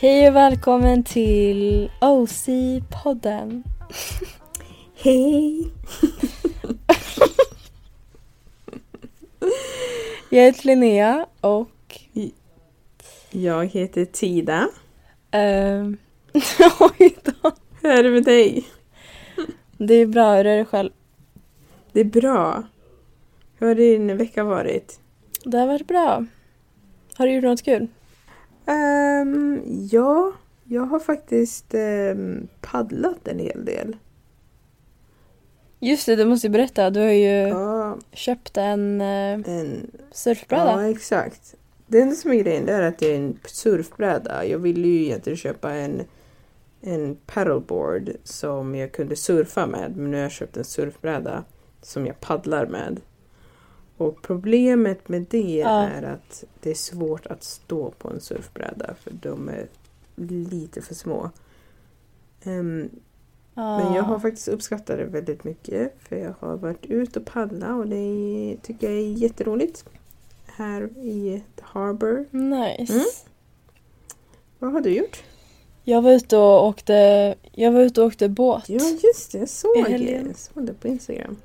Hej och välkommen till OC-podden. Hej! Jag heter Linnea och... Jag heter Tida. ehm, Oj då. Hur är det med dig? Det är bra, hur är det själv? Det är bra. Hur har din vecka varit? Det har varit bra. Har du gjort något kul? Ehm, ja, jag har faktiskt ehm, paddlat en hel del. Just det, du måste ju berätta. Du har ju Ja, köpt en eh, en, surfbräda. ja, exakt. Det enda som är grejen det är att det är en surfbräda. Jag ville ju egentligen köpa en, en paddleboard som jag kunde surfa med. Men nu har jag köpt en surfbräda som jag paddlar med. Och problemet med det Ja. är att det är svårt att stå på en surfbräda för de är lite för små. Ehm, Ja. men jag har faktiskt uppskattat det väldigt mycket för jag har varit ute och paddlat och det är- tycker jag är jätteroligt. Här i The Harbour. Nice. Mm. Vad har du gjort? Jag var ute och åkte, jag var ute och åkte båt Ja just det, jag såg det. helgen. Jag såg det på Instagram.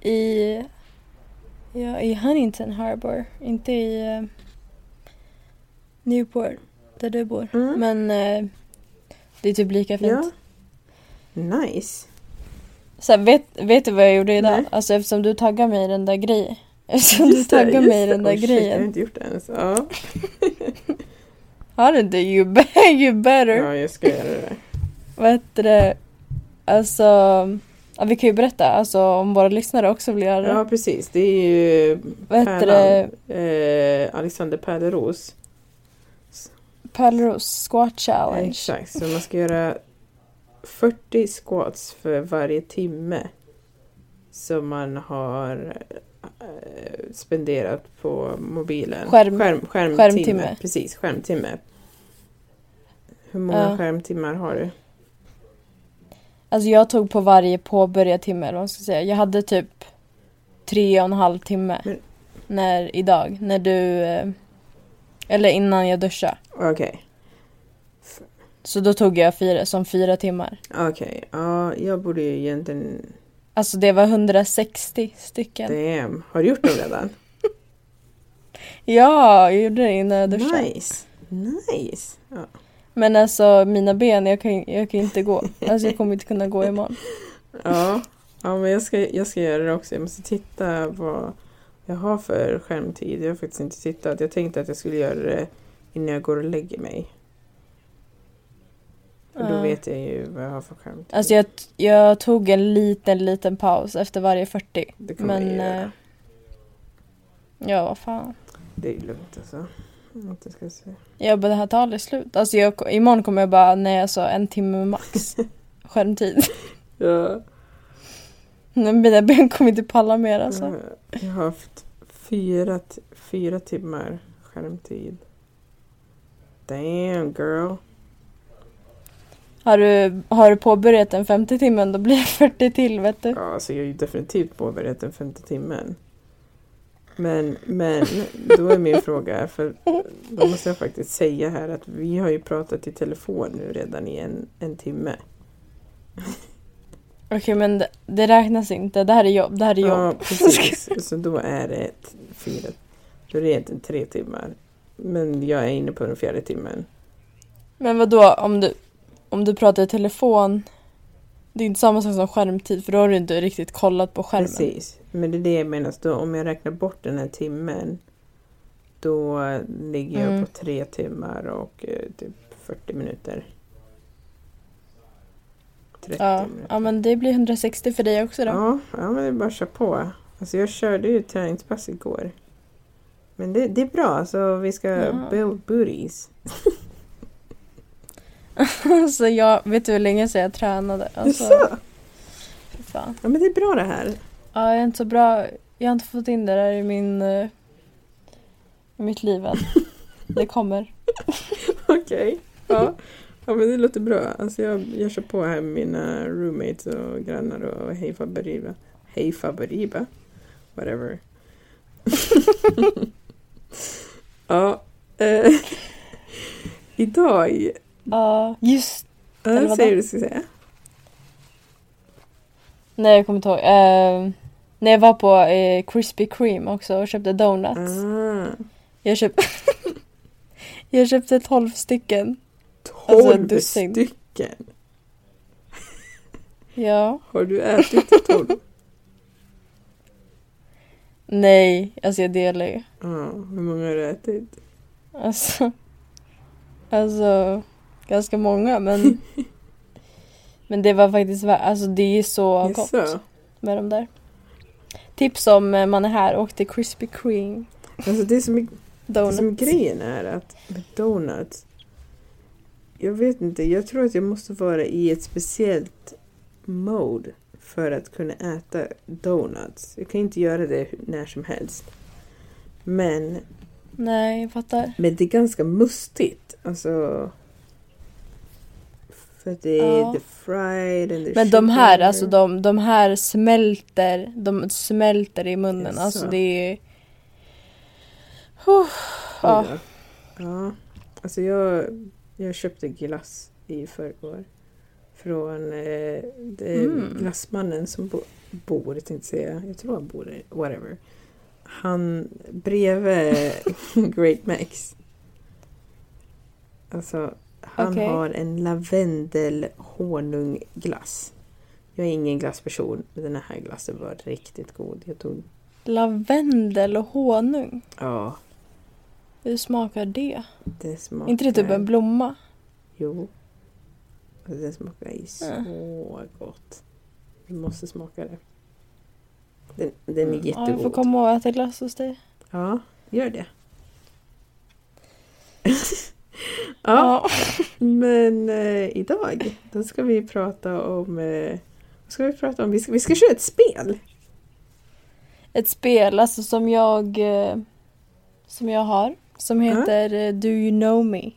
i, ja, i Huntington Harbour. Inte i eh, Newport, där du bor. Mm. Men eh, det är typ lika fint. Ja. Nice. Så här, vet, vet du vad jag gjorde idag? Nej. Alltså eftersom du taggade mig i den där grejen. Eftersom du Just det, taggade just mig i det. den där Oh, shit, Jag har grejen. inte gjort det ens. Ja, Har du inte? You, be- you better. ja jag ska göra det. Vad heter det? Alltså, ja, vi kan ju berätta alltså, om våra lyssnare också vill göra det. Ja precis, det är ju vad heter det? Pärlan, eh, Alexander Pärleros. Pärleros squat challenge. Exakt, så man ska göra 40 squats för varje timme som man har eh, spenderat på mobilen. Skärm- skärmtimme. skärmtimme. Precis, skärmtimme. Hur många Ja. skärmtimmar har du? Alltså jag tog på varje påbörjad timme eller vad man ska säga. Jag hade typ tre och en halv timme Men- när, idag. När du... eh, Eller innan jag duschade. Okej, Så då tog jag fyra, som fyra timmar. okej. Ja, jag borde ju egentligen... Alltså det var 160 stycken. Damn, har du gjort dem redan? Ja, jag gjorde det innan jag duschade. nice! Nice! Ja. Men alltså mina ben, jag kan ju jag kan ju inte gå. Alltså jag kommer inte kunna gå imorgon. Ja, ja men jag ska, jag ska göra det också. Jag måste titta vad jag har för skärmtid. Jag har faktiskt inte tittat. Jag tänkte att jag skulle göra det innan jag går och lägger mig. För då Ja. vet jag ju vad jag har för skärmtid. Alltså jag, jag tog en liten, liten paus efter varje 40. det kommer Men... jag eh, göra. Ja, vad fan. Det är lugnt alltså. Inte ska jag se. Jag bara det här tar aldrig slut. Alltså jag, imorgon kommer jag bara, nej alltså en timme max skärmtid. Ja. Men Mina ben kommer inte palla mer alltså. Jag, jag har haft fyra, t- fyra timmar skärmtid. Damn girl. Har du, har du påbörjat den 50 timmen då blir det 40 till vet du. Ja, alltså jag är ju definitivt påbörjat den femte timmen. Men, men, då är min fråga, för då måste jag faktiskt säga här att vi har ju pratat i telefon nu redan i en, en timme. Okej men det, det räknas inte, det här är jobb, det här är jobb. Ja, precis. Så då är det ett, fyra, då är det egentligen tre timmar. Men jag är inne på den fjärde timmen. Men vad då om du, om du pratar i telefon, det är inte samma sak som skärmtid för då har du inte riktigt kollat på skärmen. Precis, men det är det jag menar. Så då, om jag räknar bort den här timmen då ligger jag Mm. på tre timmar och eh, typ 40 minuter. 30 Ja, minuter. ja men det blir 160 för dig också då. Ja, ja, men det är bara att köra på. Alltså jag körde ju träningspass igår. Men det, det är bra, alltså vi ska Ja. build booties. så jag, vet du hur länge sedan jag tränade? Alltså, Jaså? fy fan. Ja men det är bra det här. Ja, jag är inte så bra. Jag har inte fått in det där i min... eh, i mitt liv än. Det kommer. Okej. Ja. ja, men det låter bra. Alltså jag, jag kör på här med mina roommates och grannar och hej faberiba. Hej faberiba. Whatever. ja. Eh, Idag. Ja, just Eller Eller vadå? säger du ska säga. Nej, jag kommer inte ihåg. Eh, när jag var på eh, Krispy Kreme också och köpte donuts. Ah, Jag, köp... jag köpte 12 stycken. Alltså, 12 dussin. Ah, stycken. Ja. Har du ätit 12? Nej, alltså jag delar ju. ah, hur många har du ätit? Alltså, alltså ganska många men Men det var faktiskt värt, alltså det är så gott Jaså? med de där. Tips om eh, man är här, åk till Krispy Kreme Alltså det är så mycket Det Donuts. Som grejen är att med donuts, jag vet inte, jag tror att jag måste vara i ett speciellt mode för att kunna äta donuts. Jag kan inte göra det hur- när som helst. Men, Nej, jag fattar. men det är ganska mustigt. Alltså, för det är Ja. the fried and the Men de här, sugar. alltså de, de här smälter, de smälter i munnen. Jaså. Alltså det är... Ja. Ja. ja. Alltså jag, jag köpte glass i förrgår. Från eh, det, Mm. glassmannen som bo, bor, tänkte jag säga, jag tror han bor i, whatever. Han bredvid Great Max. Alltså han Okej. har en lavendel honungglass. Jag är ingen glassperson, men den här glassen var riktigt god. Jag tog... Lavendel och honung. Ja, Hur smakar det? det smakar... inte det typ en blomma? Jo. Alltså, Det smakar ju så Mm. gott. Du måste smaka det. Den, den är Mm. Ja, jag får jättegod. komma och äta glass hos dig. Ja, gör det. ja, Ja. men eh, idag då ska vi prata om... Eh, vad ska vi prata om? Vi ska, vi ska köra ett spel. Ett spel alltså som jag eh, som jag har som heter eh, Do You Know Me.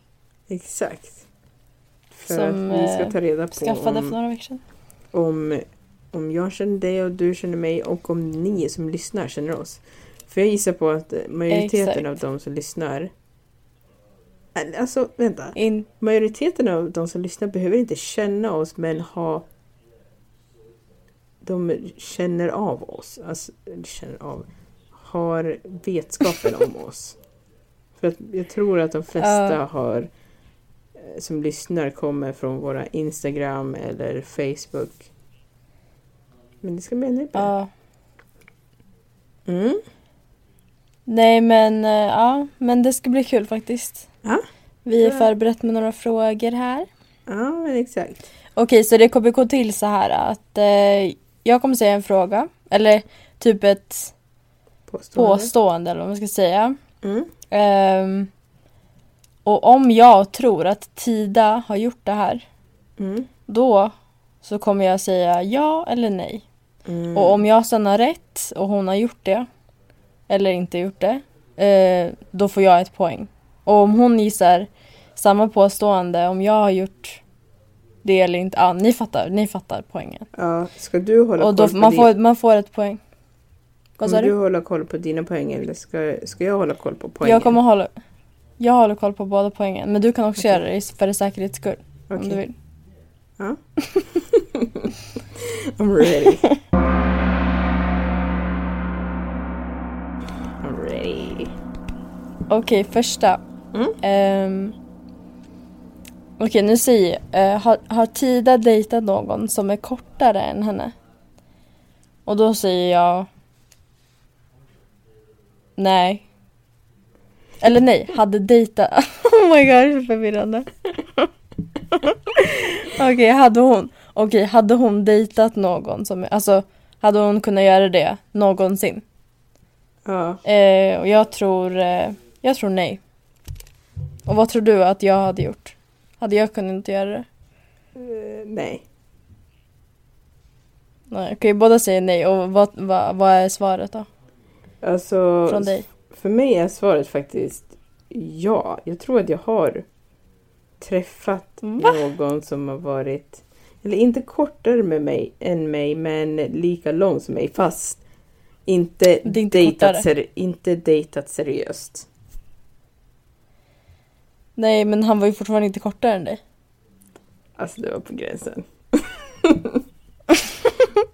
Exakt. För Som, att vi ska eh, ta reda på Skaffade för om, några veckor sedan. om, om jag känner dig och du känner mig och om ni som lyssnar känner oss. För jag gissar på att majoriteten Exakt. av de som lyssnar... Eller, Alltså, vänta. In, Majoriteten av de som lyssnar behöver inte känna oss men ha... De känner av oss. Alltså, eller känner av... Har vetskapen om oss. För att jag tror att de flesta Ja. har eh, som lyssnar kommer från våra Instagram eller Facebook. Men det ska bli ännu bättre. ja. Mm. Nej men eh, ja, men det ska bli kul faktiskt. Ja. Vi är Ja. förberett med några frågor här. Ja, men exakt. Okej, så det kommer gå till så här att eh, jag kommer säga en fråga eller typ ett Påstående. påstående eller vad man ska säga. Mm. Ehm, och om jag tror att Tida har gjort det här Mm. Då så kommer jag säga ja eller nej. Mm. Och om jag sen har rätt och hon har gjort det, eller inte gjort det, eh, då får jag ett poäng. Och om hon gissar samma påstående, om jag har gjort det eller inte, ah, ni fattar, ni fattar poängen. ja, ska du hålla Och då, koll på man, din- får, man får ett poäng. Vad Kommer sa du du? hålla koll på dina poäng eller ska, ska jag hålla koll på poängen? Jag kommer hålla, jag håller koll på båda poängen, men du kan också Okej. göra det för säkerhets skull. Om Okej, du vill. I'm ready. I'm ready. Okej, första. Mm. Ehm, Okej, nu säger jag. eh, har, har Tida dejtat någon som är kortare än henne? Och då säger jag... Nej. Eller nej, hade dejtat... Oh my god, så förvirrande. Okej, hade hon... Okej, hade hon dejtat någon som... Alltså, hade hon kunnat göra det någonsin? Ja, Eh, och jag tror, eh, jag tror nej. Och vad tror du att jag hade gjort? Hade jag kunnat göra det? eh, nej. Nej, okej, båda säger nej. Och vad, vad, vad är svaret då? Alltså, Från dig? för mig är svaret faktiskt ja. Jag tror att jag har träffat Mm. Va? någon som har varit, eller inte kortare med mig än mig, men lika lång som mig, fast inte, Det är inte dejtat, kortare. seri- inte dejtat seriöst. Nej, men han var ju fortfarande inte kortare än dig. Alltså det var på gränsen.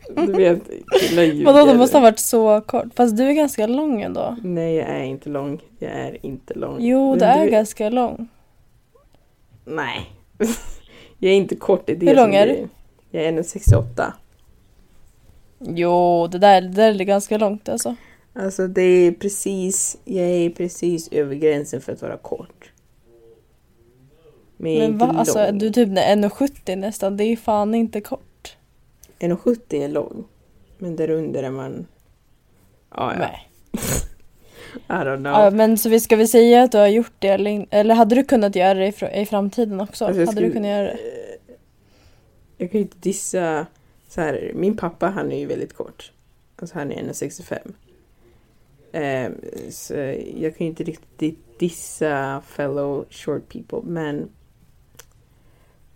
du vet, killar ljuger. Vadå, då måste han varit så kort. Fast du är ganska lång ändå. Nej, jag är inte lång. Jag är inte lång. Jo, Men du är du- ganska lång. Nej. jag är inte kort. Det är det Hur som lång är du? grejen. Jag är 1,68. Jo, det där, det där är ganska långt alltså. Alltså det är precis, jag är precis över gränsen för att vara kort. Men jag är Men inte va? Alltså, är lång. du är typ 1,70 nästan. Det är fan inte kort. 1,70 är lång. Men där under är man... Ja, ja. Nej. I don't know. Ja, men så vi ska vi säga att du har gjort det eller, in- eller hade du kunnat göra det i, fr- i framtiden också? Alltså, jag hade du skulle- kunnat göra det? Eh, Jag kan ju inte dissa... Så här, min pappa han är ju väldigt kort. Alltså han är 1,65. Eh, så jag kan ju inte riktigt dissa fellow short people men...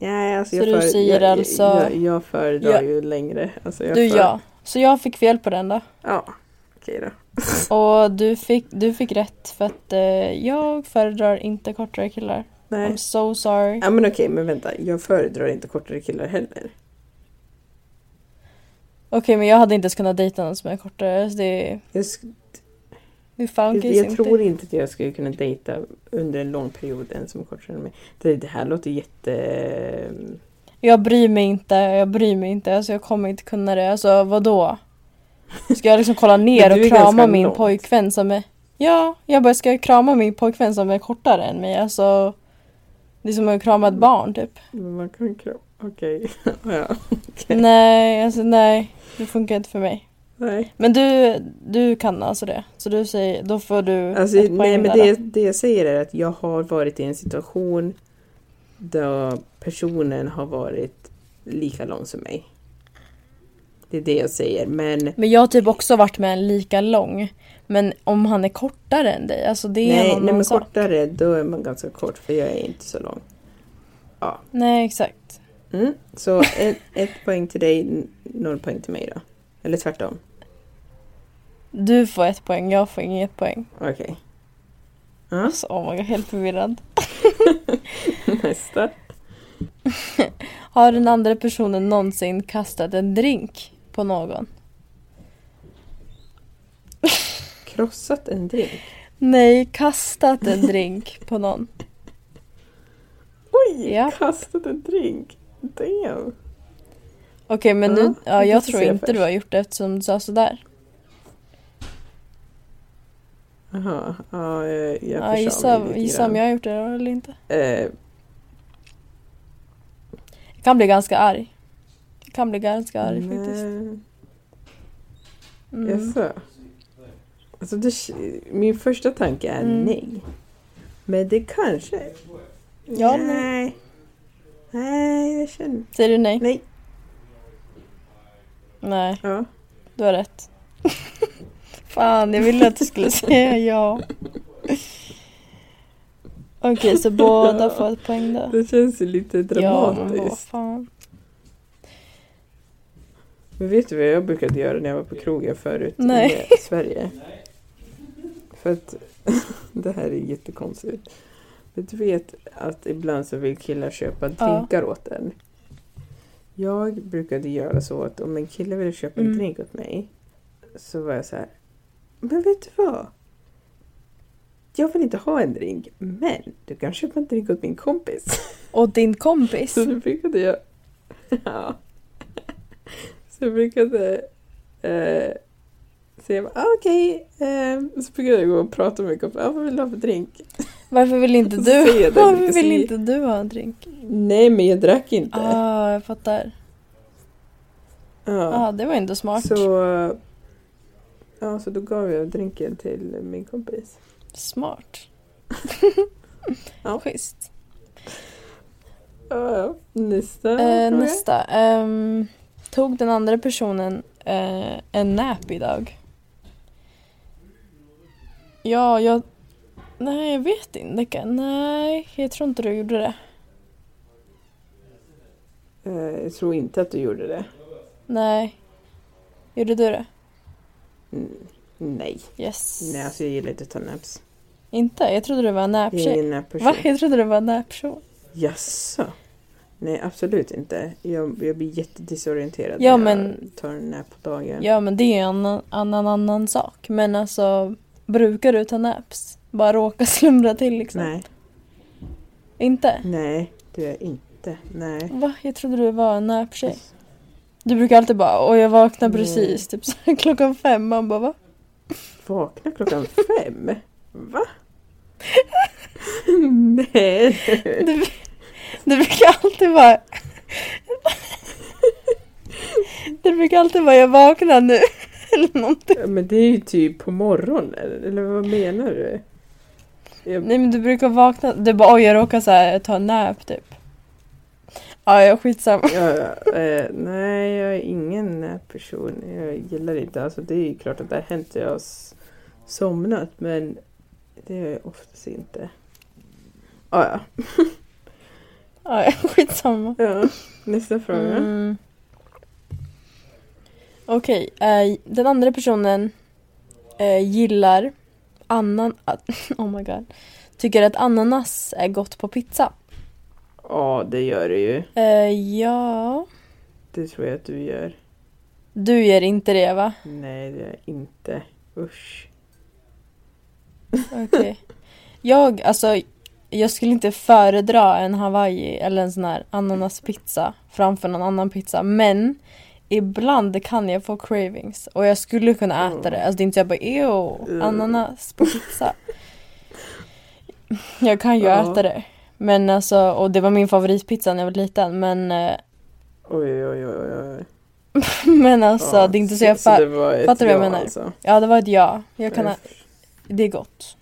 Nej, alltså Så jag du före- säger jag, alltså- Jag, jag föredrar Ja. ju längre. Alltså jag Du före- ja. Så jag fick fel på den då. Ja, okej då. Och du fick, du fick rätt för att eh, jag föredrar inte kortare killar. Nej. I'm so sorry. Ja men okej, men vänta. Jag föredrar inte kortare killar heller. Okej men jag hade inte ens kunnat dejta någon som är kortare. Så det, Jag, sk- det är fan jag, kissing. jag tror inte att jag skulle kunna dejta under en lång period en som är kortare än mig. Det, det här låter jätte... Jag bryr mig inte, jag bryr mig inte. Alltså jag kommer inte kunna det. Alltså vadå? Ska jag liksom kolla Men ner du är och krama ganska min lång. pojkvän som är... Ja, jag bara ska jag krama min pojkvän som är kortare än mig? Alltså... Det är som att krama ett Mm. barn typ. Men man kan kram... Okej. ja, okej. Nej, alltså nej. Det funkar inte för mig. Nej. Men du, du kan alltså det. Så du säger, då får du Alltså, ett nej poäng men där det, då. det jag säger är att jag har varit i en situation där personen har varit lika lång som mig. Det är det jag säger. Men Men jag har typ också varit med en lika lång. Men om han är kortare än dig, alltså det är en nej, annan nej men sak. kortare, då är man ganska kort för jag är inte så lång. Nej, exakt. Mm. Så ett, ett poäng till dig, n- noll poäng till mig då. Eller tvärtom. Du får ett poäng, jag får inget poäng. Okej. Ja, Alltså, oh my god, helt förvirrad. nästa. Har den andra personen någonsin kastat en drink på någon? Krossat en drink. Nej, kastat en drink på någon. Oj! Ja. Kastat en drink. Damn. Okej, men Ja, nu... Ja, vi jag får tror se inte först. du har gjort det eftersom du sa sådär. Jaha, ja, eh, jag Ja, försade gissa, mig lite gissa om grann. jag har gjort det eller inte. Eh, Jag kan bli ganska arg. Jag kan bli ganska arg nej, faktiskt. Mm. Jaså? Alltså, det, min första tanke är Mm. nej. Men det kanske... Ja, men- nej. Nej, jag känner... Säger du nej? Nej. Nej, Ja. du har rätt. Fan, jag ville att du skulle säga ja. Okej, så båda får ett poäng då. Det känns ju lite Ja, men vad dramatiskt. fan. men vet du vad jag brukade göra när jag var på krogen förut Nej. i Sverige? För att det här är jättekonstigt. Men du vet att ibland så vill killar köpa Ja. drinkar åt en. Jag brukade göra så att om en kille ville köpa en Mm. drink åt mig så var jag så här. Men vet du vad? Jag vill inte ha en drink, men du kan köpa en drink åt min kompis. Och din kompis? Så nu brukade jag... Ja. Så jag brukade... Eh, säga bara, ah, okej. eh, så brukade jag gå och prata med min kompis. Ah, vad vill du ha för drink? Varför vill inte Så säger du, jag det, varför Lukas, vill i- inte du ha en drink? Nej, men jag drack inte. Ah, jag fattar. Ja. Ah, det var inte smart. Så... eh, Ja, så då gav jag drinken till min kompis. Smart. Ja. Schysst. Ja, ja. nästa. Eh, fråga. nästa. Ehm, tog den andra personen eh, en nap idag? Ja, jag... Nej, jag vet inte. Nej, jag tror inte du gjorde det. Eh, jag tror inte att du gjorde det. Nej. Gjorde du det? Mm. Nej. Yes. Nej, alltså jag gillar inte att ta naps. Inte? Jag trodde det var en Jag är näptjej. ingen näpperson. Va? Jag trodde det var en näpperson. Jaså? Nej, absolut inte. Jag, jag blir jättedisorienterad Ja, när men- jag tar en nap på dagen. Ja men det är en annan, annan, annan sak. Men alltså, brukar du ta naps? Bara råka slumra till liksom? nej, Inte? nej, det gör jag inte. Nej. Va? Jag trodde du var en näptjej. Du brukar alltid bara och jag vaknar precis typ så här, klockan fem. Man bara va? Vakna klockan fem? Va? nej. Du, du brukar alltid vara... Du brukar alltid vara jag vaknar nu. Eller någonting. Ja, Men det är ju typ på morgonen, eller vad menar du? Jag, Nej men du brukar vakna. Du bara oj jag råkar så här, ta en nap typ. Ja jag skitsamma. Ja, ja, eh, nej, jag är ingen eh, person. Jag gillar inte, alltså det är ju klart att det har hänt att jag har s- somnat men det gör jag oftast inte. Ah, ja, Ja jag skitsamma. ja, nästa fråga. Mm. Okej, eh, den andra personen eh, gillar annan... Oh my god. Tycker att ananas är gott på pizza. Ja, det gör det ju. Eh, ja... Det tror jag att du gör. Du gör inte det va? Nej, det gör jag inte. Usch. Okej. Jag, alltså, jag skulle inte föredra en hawaii eller en sån här ananaspizza framför någon annan pizza. Men ibland kan jag få cravings och jag skulle kunna äta Oh. det. Alltså det är inte så jag bara ew, Mm. ananas på pizza. jag kan ju Ja. äta det. Men alltså, och det var min favoritpizza när jag var liten. Men, eh, Oj, oj, oj. oj, oj. men alltså det är inte så jag... fa- det var ett fattar du vad jag ja, menar? Alltså. ja det var ett ja. Jag kan, jag, ä- det är gott.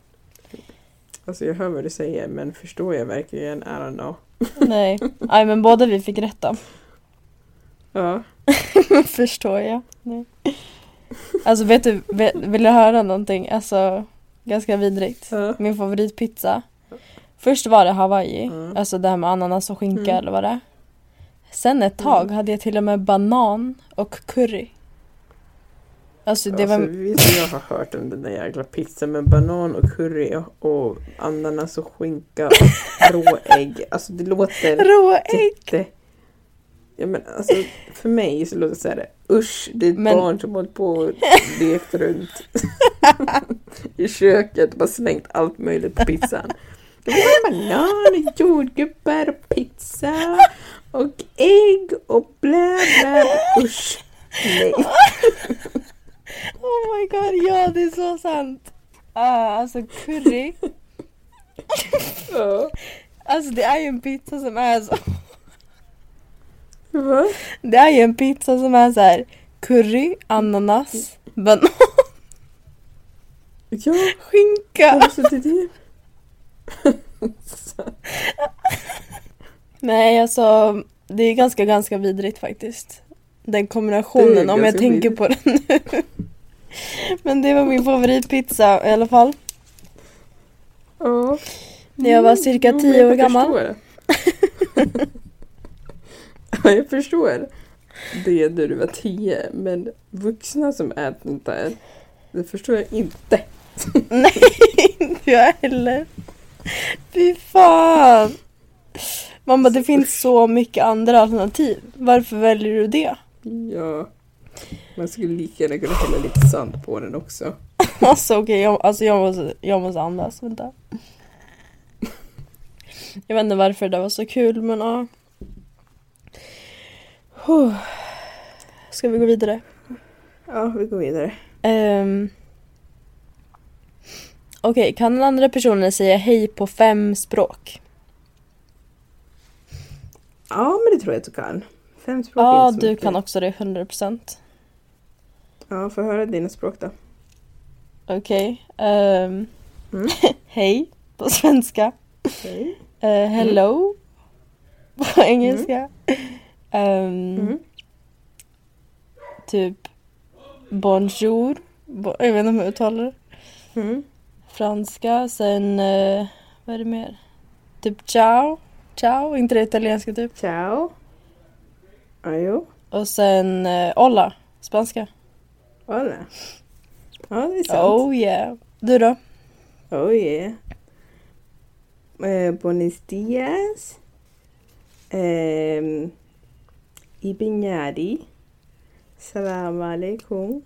alltså, jag hör vad du säger men förstår jag verkligen? I don't know. Nej. Nej men båda vi fick rätt då. Ja. Förstår jag. Nej. Alltså vet du, ve- vill du höra någonting? Alltså ganska vidrigt. ja. Min favoritpizza. Först var det Hawaii, Mm. alltså det här med ananas och skinka Mm. eller vad det är. Sen ett tag Mm. hade jag till och med banan och curry. Alltså det alltså, var... Visst, jag har hört om den där jäkla pizzan med banan och curry och ananas och skinka och råägg. Alltså det låter Råägg! jätte... Ja, men alltså, för mig så låter det så här, usch, det är ett Men- barn som hållit på och lekt runt i köket och bara slängt allt möjligt på pizzan. Det var banan och jordgubbar och pizza och ägg och blä, blä, usch. Nej. Oh my god, ja det är så sant! Ah, alltså curry, Ja. alltså det är ju en pizza som är så... Va? Det är ju en pizza som är så här curry, ananas, banan, Ja, skinka. alltså det är det. Nej, alltså det är ganska, ganska vidrigt faktiskt. Den Det är kombinationen, om jag ganska tänker på den nu. Men det var min favoritpizza i alla fall. Ja. När jag var cirka Jo, men 10 år jag gammal. förstår. ja, jag förstår det när du var tio, men vuxna som äter sånt där, det förstår jag inte. Nej, inte jag heller. Fy fan. Man bara, det finns så mycket andra alternativ. Varför väljer du det? Ja. Man skulle lika gärna kunna hälla lite sand på den också. Alltså okej, jag, alltså, jag, måste, jag måste andas, vänta. Jag vet inte varför det där var så kul men ja. Huh. Ska vi gå vidare? Ja, vi går vidare. Ehm. Okej, kan den andra personen säga hej på fem språk? Ja, men det tror jag att du kan. Fem språk är Ja, inte så du mycket. kan också det 100%. Ja, få höra dina språk då. Okej. ehm. Mm. hej på svenska. Okej. Eh, hello på engelska. Ehm, Mm. Typ bonjour. Bo- jag vet inte hur jag uttalar det. Mm. Franska. Sen eh, vad är det mer? Typ ciao. Ciao, inte det italienska typ. Ciao. Ajo. Och sen eh, hola, spanska. Oh, Hola. Ja, det är sant. Oh yeah. Du då? Oh yeah. Eh, buenos dias. Eh, Ibinyadi. Salam alaikum.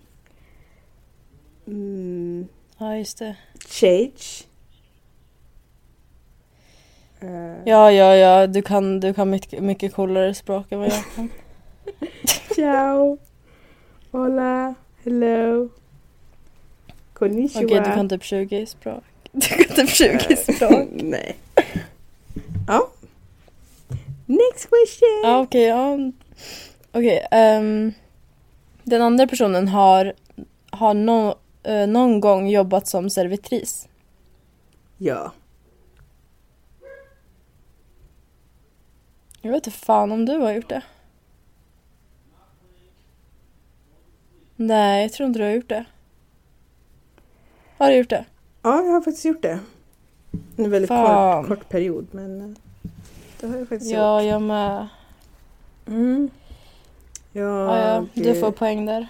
Mm, Ja, just det. Cheich. Eh, Ja, ja, ja. Du kan, du kan mycket, mycket coolare språk än vad jag kan. Ciao. Hola. Hello. Konnichiwa. Okej, du kan typ 20 språk. Du kan typ 20 språk. Nej. Ja. Next question. Ja, okej. ja. Okej. ehm, den andra personen har, har no, eh, någon gång jobbat som servitris. Ja. Jag vet inte fan om du har gjort det. Nej, jag tror inte du har gjort det. Har du gjort det? Ja, jag har faktiskt gjort det. En väldigt Fan. kort, kort period, men eh, det har jag faktiskt gjort. Ja, jag med. Mm. Ja, Ja, ja. Du det- får poäng där.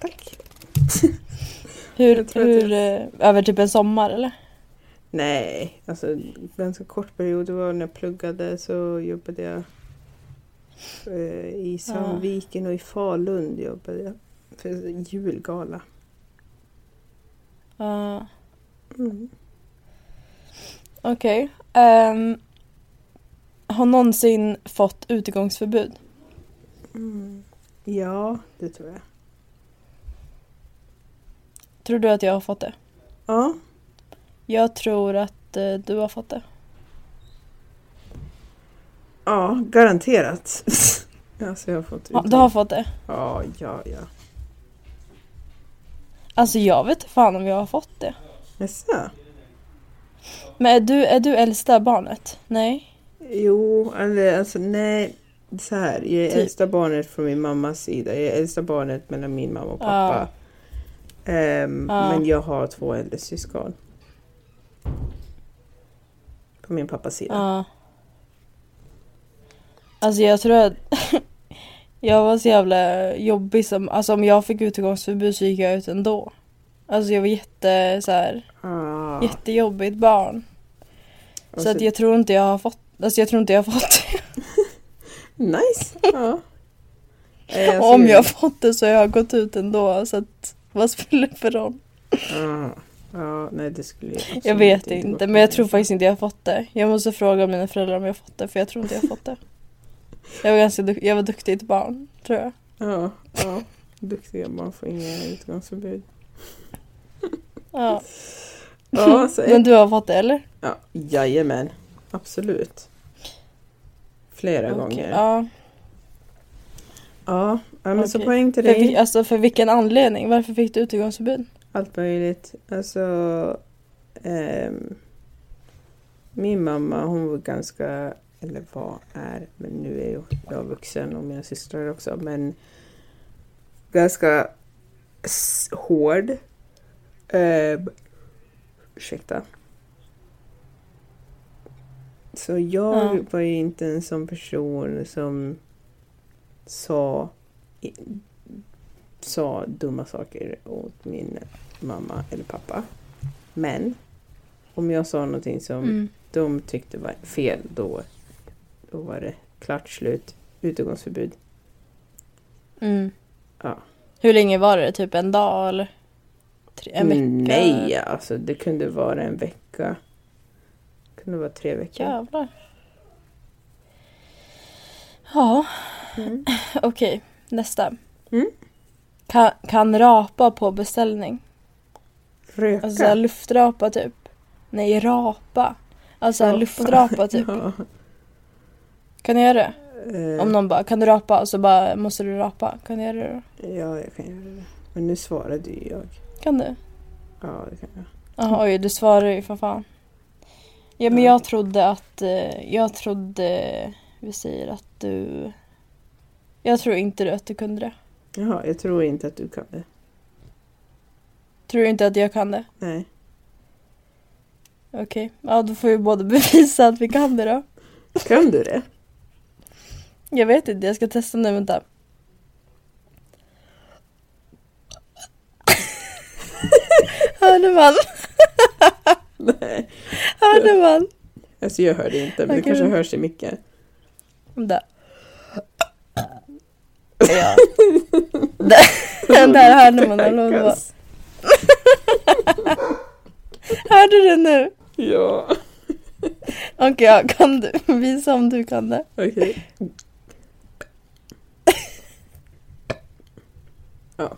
Tack. Hur, Jag tror att hur, eh, över typ en sommar eller? Nej, alltså ganska kort period. Det var när jag pluggade så jobbade jag eh, i Sandviken och i Falun jobbade jag för julgala. Ja, Mm. Okej. Ehm, har någonsin fått utegångsförbud? Mm. Ja, det tror jag. Tror du att jag har fått det? Ja. Jag tror att eh, du har fått det. Ja, garanterat. alltså jag har fått Ja, du har fått det? Ja, ja, ja. Alltså jag vet fan om jag har fått det. Jaså? Men är du, är du äldsta barnet? Nej? Jo, eller alltså nej. Så här, jag är Typ. äldsta barnet från min mammas sida. Jag är äldsta barnet mellan min mamma och Ja. pappa. Ehm, Ja. Men jag har två äldre syskon. På min pappas sida. Ja. Alltså jag tror att jag var så jävla jobbig som, alltså om jag fick utegångsförbud så gick jag ut ändå. Alltså jag var jätte så här, Ah, jättejobbigt barn. och Så att jag tror inte jag har fått, alltså jag tror inte jag har fått det. Nice! ja. Eh, alltså, Och om jag har fått det så har jag gått ut ändå så att vad spelar det för roll? Ah, ja, nej det skulle absolut Jag vet gå inte, för men jag mig. tror faktiskt inte jag har fått det. Jag måste fråga mina föräldrar om jag har fått det, för jag tror inte jag har fått det. Jag var ganska duk- jag var duktigt barn, tror jag. Ja, ja. Duktiga barn får inga utgångsförbud. Ja. Ja, så Men du har fått det, eller? ja, jajamän. Absolut. Flera gånger. Ja, Ja. ja men så Okej. poäng till För, vi- dig. alltså, för vilken anledning? Varför fick du utegångsförbud? Allt möjligt. Alltså, ehm, min mamma hon var ganska, eller vad är, men nu är ju jag vuxen och mina systrar också, men ganska s- hård. Ehm, ursäkta. Så jag Ja. var ju inte en sån person som sa, i, sa dumma saker åt min mamma eller pappa. Men om jag sa någonting som Mm. de tyckte var fel då, då var det klart slut. Utegångsförbud. Mm. Ja. Hur länge var det? Typ en dag, eller? Tre, en vecka? Nej, alltså det kunde vara en vecka. Det kunde vara tre veckor. Jävlar. Ja, Mm. okej. Nästa. Mm. Kan, kan rapa på beställning. Röka. Alltså såhär luftrapa typ. Nej, rapa. Alltså såhär Rapa. luftrapa typ. Ja. Kan du göra det? Eh, Om någon bara, kan du rapa? Och så bara, måste du rapa? Kan du göra det då? ja, jag kan göra det. Men nu svarade ju jag. Kan du? Ja, det kan jag. Jaha, oj, du svarar ju för fan. Ja, men Mm. Ja. jag trodde att, eh, jag trodde, vi säger att du... Jag tror inte du- att du kunde det. Jaha, jag tror inte att du kan det. Tror du inte att jag kan det? Nej. Okej. Ja, då får vi båda bevisa att vi kan det då. Kan du det? Jag vet inte, jag ska testa nu, vänta. Hörde man? Nej. Hörde man? Alltså jag hörde inte, men det Okej. kanske hörs i micken. Där. Ja. Där, där hörde man den. Hon bara, Stackars. Hörde du nu? Ja, Okej, ja, kan du visa om du kan det? okej. Ja,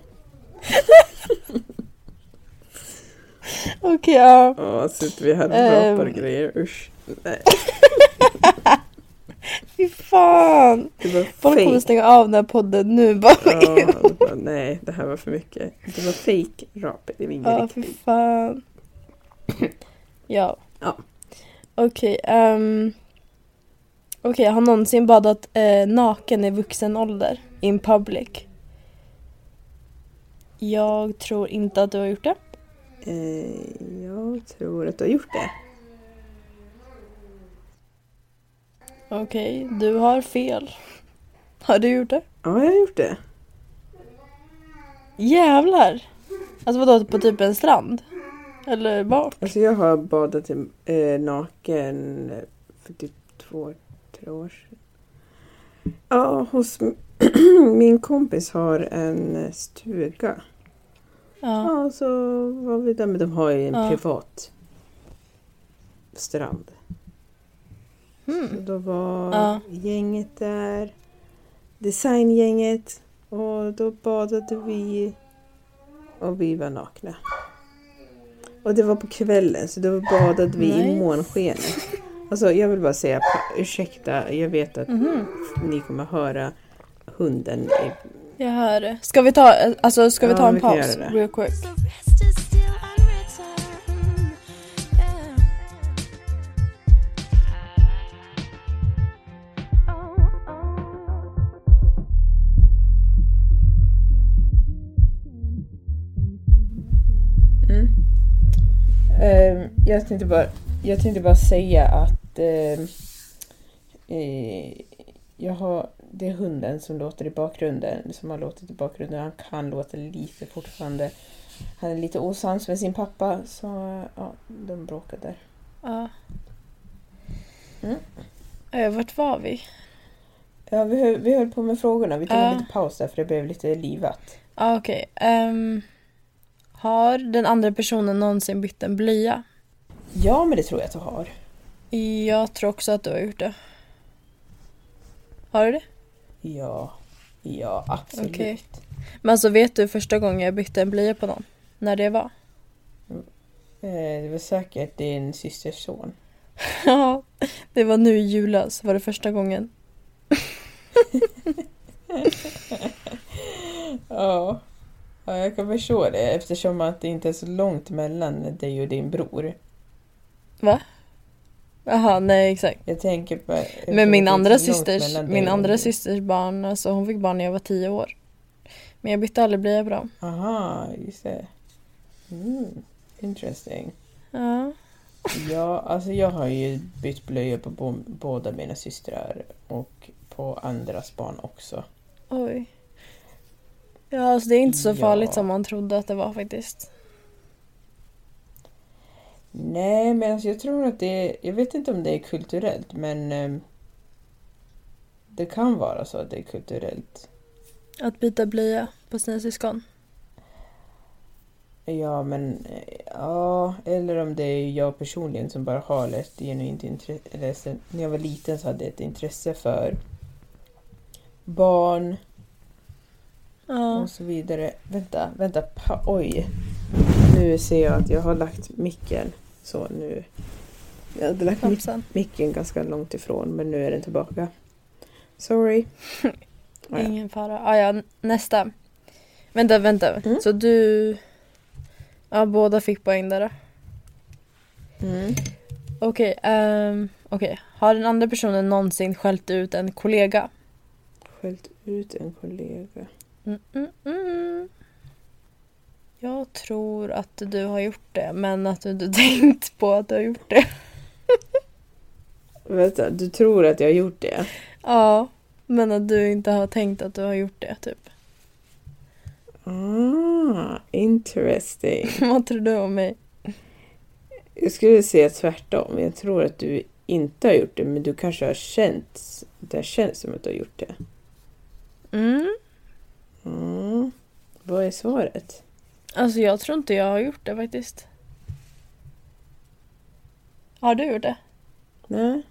Okej, ja. ja, sitter vi här och Ehm. pratar grejer. Usch. Nej, Fy fan. det var Folk kommer fake. stänga av den här podden nu bara. Ja, det var, nej, det här var för mycket. Det var fake rap. Det var ingen Ja, fy riktig. fan. Ja. Ja. Okej, ehm. Okej, jag har någonsin badat eh, naken i vuxen ålder in public. Jag tror inte att du har gjort det. Eh, jag tror att du har gjort det. Okej, du har fel. Har du gjort det? Ja, jag har gjort det. Jävlar! Alltså vadå, på typ en strand? Eller vart? Alltså jag har badat i, eh, naken för typ två, tre år sedan. Ja, hos min kompis har en stuga. Ja. Ja, så var vi där. Men de har ju en Ja. privat strand. Och Mm. Då var Ja. gänget där, designgänget och då badade vi och vi var nakna. Och det var på kvällen så då badade vi i Nice. månskenet. Alltså jag vill bara säga pa- ursäkta, jag vet att Mhm. ni kommer höra hunden. I, Jag hör det. Ska vi ta, alltså, ska vi Ja, ta en vi kan paus? göra det. Real quick. So rest is still unreturned. Yeah. Oh, oh. Ehm, jag, tänkte bara, jag tänkte bara säga att ehm, eh, jag har, det är hunden som låter i bakgrunden, som har låtit i bakgrunden. Han kan låta lite fortfarande. Han är lite osams med sin pappa, så eh, ja, de bråkade. Ja. Mm. Eh, Vart var vi? Ja, vi, höll, vi höll på med frågorna. Vi tog en Ja. liten paus där, för det blev lite livat. Ah, Okej. Ehm, har den andra personen någonsin bytt en blöja? Ja, men det tror jag att du har. Jag tror också att du har gjort det. Har du det? Ja, ja, absolut. Okej. Men alltså vet du första gången jag bytte en blöja på någon? När det var? Eh, det var säkert din systers son. Ja, det var nu i julas var det första gången. Ja. ja, jag kan förstå det eftersom att det inte är så långt mellan dig och din bror. Jaha, nej exakt. Jag tänker på... jag tror att Men min det är andra så långt systers, mellan min dig och andra din- systers barn, alltså hon fick barn när jag var tio år. Men jag bytte aldrig blöja på dem. Aha, just det. Mm, interesting. Ja. Ja, alltså jag har ju bytt blöjor på bo- båda mina systrar och på andras barn också. Oj. Ja, alltså det är inte så Ja. farligt som man trodde att det var faktiskt. Nej, men alltså jag tror att det är... Jag vet inte om det är kulturellt, men... ehm, Det kan vara så att det är kulturellt. Att byta blöja på sina syskon. Ja, men eh, ja, eller om det är jag personligen som bara har ett genuint intresse. När jag var liten så hade jag ett intresse för barn Ja. Mm. och så vidare. Vänta, vänta, pa- oj. Nu ser jag att jag har lagt micken. Så nu. Jag hade lagt mic- Hoppsan. micken ganska långt ifrån men nu är den tillbaka. Sorry. Ja, ja. Ingen fara. Ah, ja, n- nästa. Vänta, vänta. Mm. Så du... Ja, båda fick poäng där då. Mm. Okej, ehm, okej. Har den andra personen någonsin skällt ut en kollega? Skällt ut en kollega. Mm, mm, mm. Jag tror att du har gjort det, men att du inte tänkt på att du har gjort det. Vänta, du tror att jag har gjort det? Ja, men att du inte har tänkt att du har gjort det, typ. Ah, interesting. Vad tror du om mig? Jag skulle säga tvärtom. Jag tror att du inte har gjort det, men du kanske har känt... Det har känts som att du har gjort det. Mm. Mm. Vad är svaret? Alltså jag tror inte jag har gjort det faktiskt. Har du gjort det? Nej,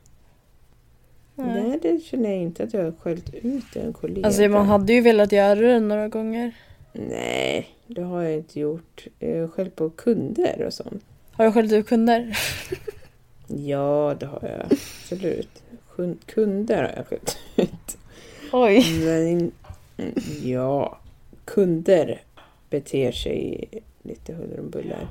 nej det känner jag inte att jag har skällt ut en kollega. Alltså man hade ju velat göra det några gånger. Nej, det har jag inte gjort. Jag har skällt på kunder och sånt. Har du skällt ut kunder? Ja, det har jag. Absolut. Kun- Kunder har jag skällt ut. Oj. Men in- mm, ja, kunder beter sig lite huller om buller.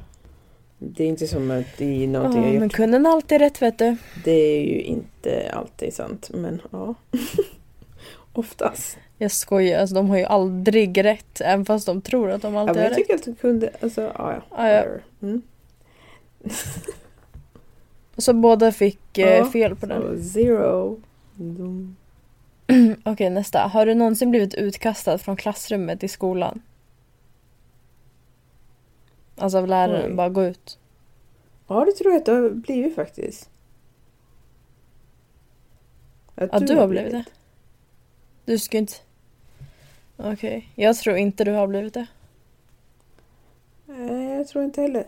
Det är inte som att det är någonting jag Ja, gjort. men kunden har alltid rätt vet du. Det är ju inte alltid sant, men ja. Oftast. Jag skojar, alltså de har ju aldrig rätt. Även fast de tror att de Ja, alltid men har jag rätt. tycker att de kunde... Alltså, ja, Ja, ja. Mm. Så båda fick eh, Ja, fel på den. Så, zero. Dum. Okej nästa. Har du någonsin blivit utkastad från klassrummet i skolan? Alltså av läraren, Oj. bara gå ut. Ja, det tror jag att det har blivit faktiskt. Ja, du har blivit det. Du ska ju inte... Okej, jag tror inte du har blivit det. Nej, jag tror inte heller.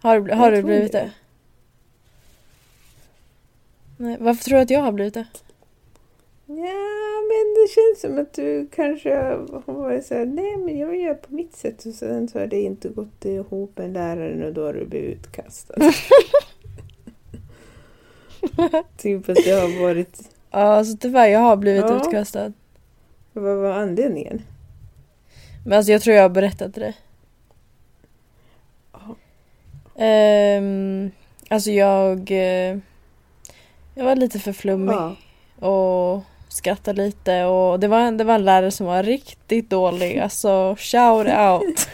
Har du, har Jag du tror blivit det. det? Nej, varför tror du att jag har blivit det? Ja, men det känns som att du kanske har varit så här, nej men jag gör på mitt sätt och sen så har det inte gått ihop med läraren och då har du blivit utkastad. typ att det har varit, Ja, alltså tyvärr, jag har blivit Ja. utkastad. vad var anledningen? Men alltså jag tror jag har berättat det. Ja. Ehm, alltså jag... eh, Jag var lite för flummig. Ja. och skrattade lite och det var, en- det var en lärare som var riktigt dålig, alltså shout out.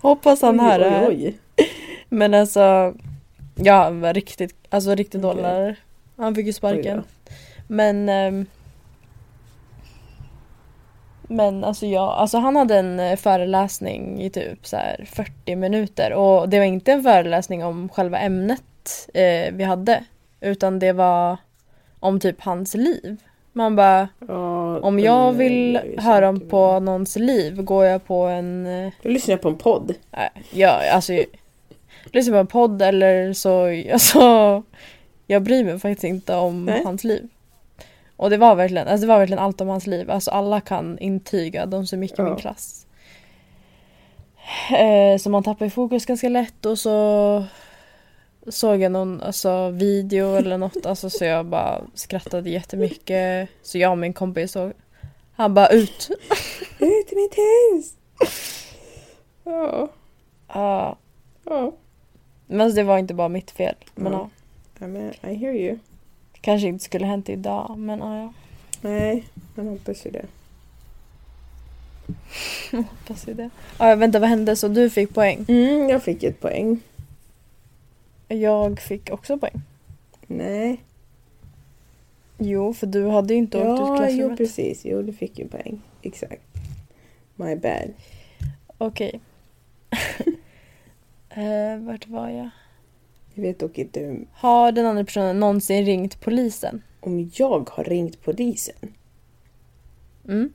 Hoppas han hör det oj, här. eh, oj. Men alltså, ja han var riktigt, alltså riktigt dålig Okej. lärare. Han fick ju sparken. Oj Men ehm, men alltså jag, alltså han hade en eh, föreläsning i typ så här 40 minuter och det var inte en föreläsning om själva ämnet eh, vi hade utan det var om typ hans liv. Man bara, Ja, om men jag Mm, det vill gör ju höra saker om på någons liv går jag på en... eh, med- Jag lyssnar på en podd. Nej, ja, alltså... jag Lyssnar på en podd eller så... Alltså, jag bryr mig faktiskt inte om Nej. hans liv. Och det var, verkligen, alltså det var verkligen allt om hans liv. Alltså alla kan intyga, de som gick i Ja. min klass. Eh, så man tappar ju fokus ganska lätt och så såg jag någon alltså, video eller något alltså, så jag bara skrattade jättemycket. Så jag och min kompis såg, han bara ut. Ut i mitt hus! Ja, Ja, ja. men alltså, det var inte bara mitt fel. Men, Ja. ja. Ja, men I hear you. Kanske inte skulle hänt idag, men ja, jag Nej, man hoppas ju det. hoppas ju det. Ja, vänta, vad hände? Så du fick poäng. Mm, jag fick ett poäng. Jag fick också poäng. Nej. Jo, för du hade ju inte åkt ut ja, jo klassrummet. precis. Jo, du fick ju en poäng. Exakt. My bad. Okej. eh, vart var jag? Jag vet dock inte om- Har den andra personen någonsin ringt polisen? om jag har ringt polisen. Mm.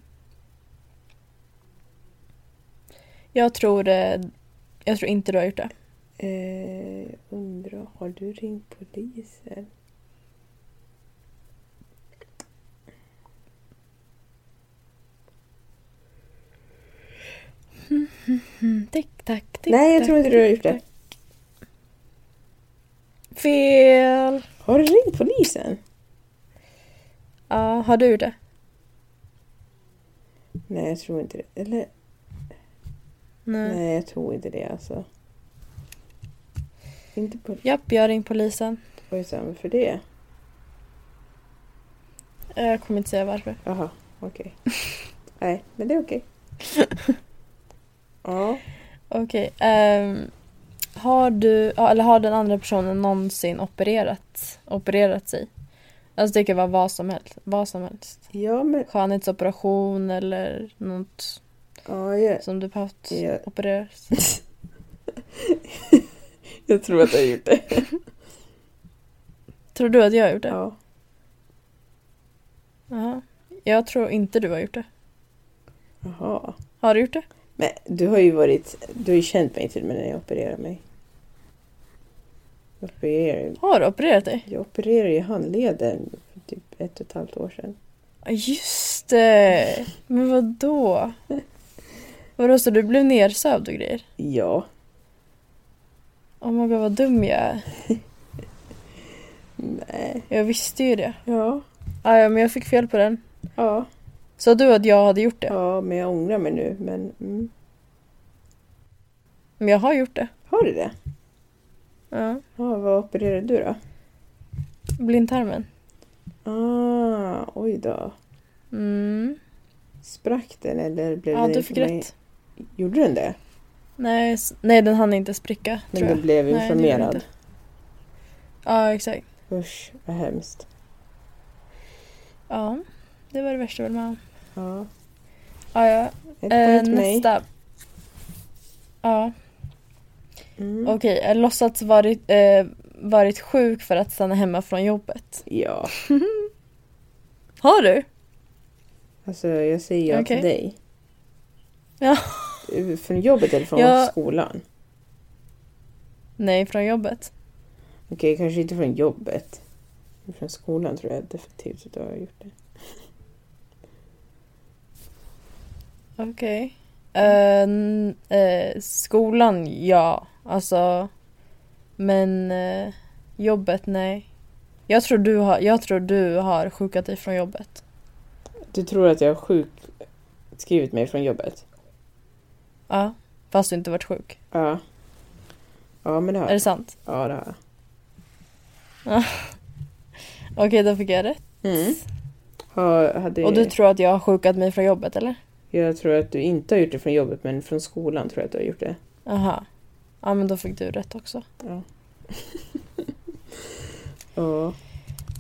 Jag tror, eh, jag tror inte du har gjort det. Eh, jag undrar, har du ringt polisen? Mm. Tick, tack, tick, Nej, jag tack, tror inte du har gjort det. Fel! Har du ringt polisen? Ja, har du gjort det? Nej, jag tror inte det. Eller? Nej. Nej, jag tror inte det alltså. Inte på... Japp, jag har ringt polisen. Oj, sa han för det? Eh, Jag kommer inte säga varför. Jaha, okej. Nej, men det är okej. Ja. Okej. ehm, har du, ja, eller har den andra personen någonsin opererat, opererat sig? Alltså det kan vara vad som helst. Vad som helst. Ja, men... Skönhetsoperation eller något Ja, jag, som du behövt Ja. opereras. jag tror att jag har gjort det. Tror du att jag har gjort det? Ja. Ja. Jag tror inte du har gjort det. Jaha. Har du gjort det? Men du har ju varit... Du har ju känt mig till och med när jag opererade mig. Jag opererade, Har du opererat dig? jag opererade ju handleden för typ ett och ett halvt år sedan. Ja, Just det! Men vad då? Vadå, så du blev nersövd och grejer? Ja. Oh my god, vad dum jag är. Nej. Jag visste ju det. Ja. Ah, ja, men jag fick fel på den. Ja. Sa du att jag hade gjort det? Ja, men jag ångrar mig nu. Men mm. Men jag har gjort det. har du det? Ja. Ja, vad opererade du då? Blindtarmen. Ah, oj då. Mm. Sprack den eller blev Ja, den... du fick informe- rätt. Gjorde den det? Nej, s- nej, den hann inte spricka, Men tror jag. den blev Nej, det gjorde inflammerad. inte. Ja, exakt. Usch, vad hemskt. Ja, det var det värsta jag var med om. Ja. Ja, ja. Ett Eh, poäng till mig. nästa. Ja, Mm. okej. Okay. Låtsats varit, eh, varit sjuk för att stanna hemma från jobbet. Ja, Har du? alltså jag säger ja Okej. till dig. Ja. Eh, Från jobbet eller från Ja. skolan? Nej, från jobbet. Okej, kanske inte från jobbet. Men Från skolan tror jag definitivt att du har gjort det. Okej. Eh, n- eh, skolan, ja. Alltså. Men eh, jobbet, nej. Jag tror, du har, jag tror du har sjukat dig från jobbet. Du tror att jag har sjukskrivit mig från jobbet? Ja, fast du inte varit sjuk. Ja. Ja, men det har Är det jag. sant? Ja, det har jag. Okej, då fick jag rätt. Mm. Har, hade, Och du tror att jag har sjukat mig från jobbet eller? Jag tror att du inte har gjort det från jobbet, men från skolan tror jag att du har gjort det. Aha. Ja men då fick du rätt också. Ja.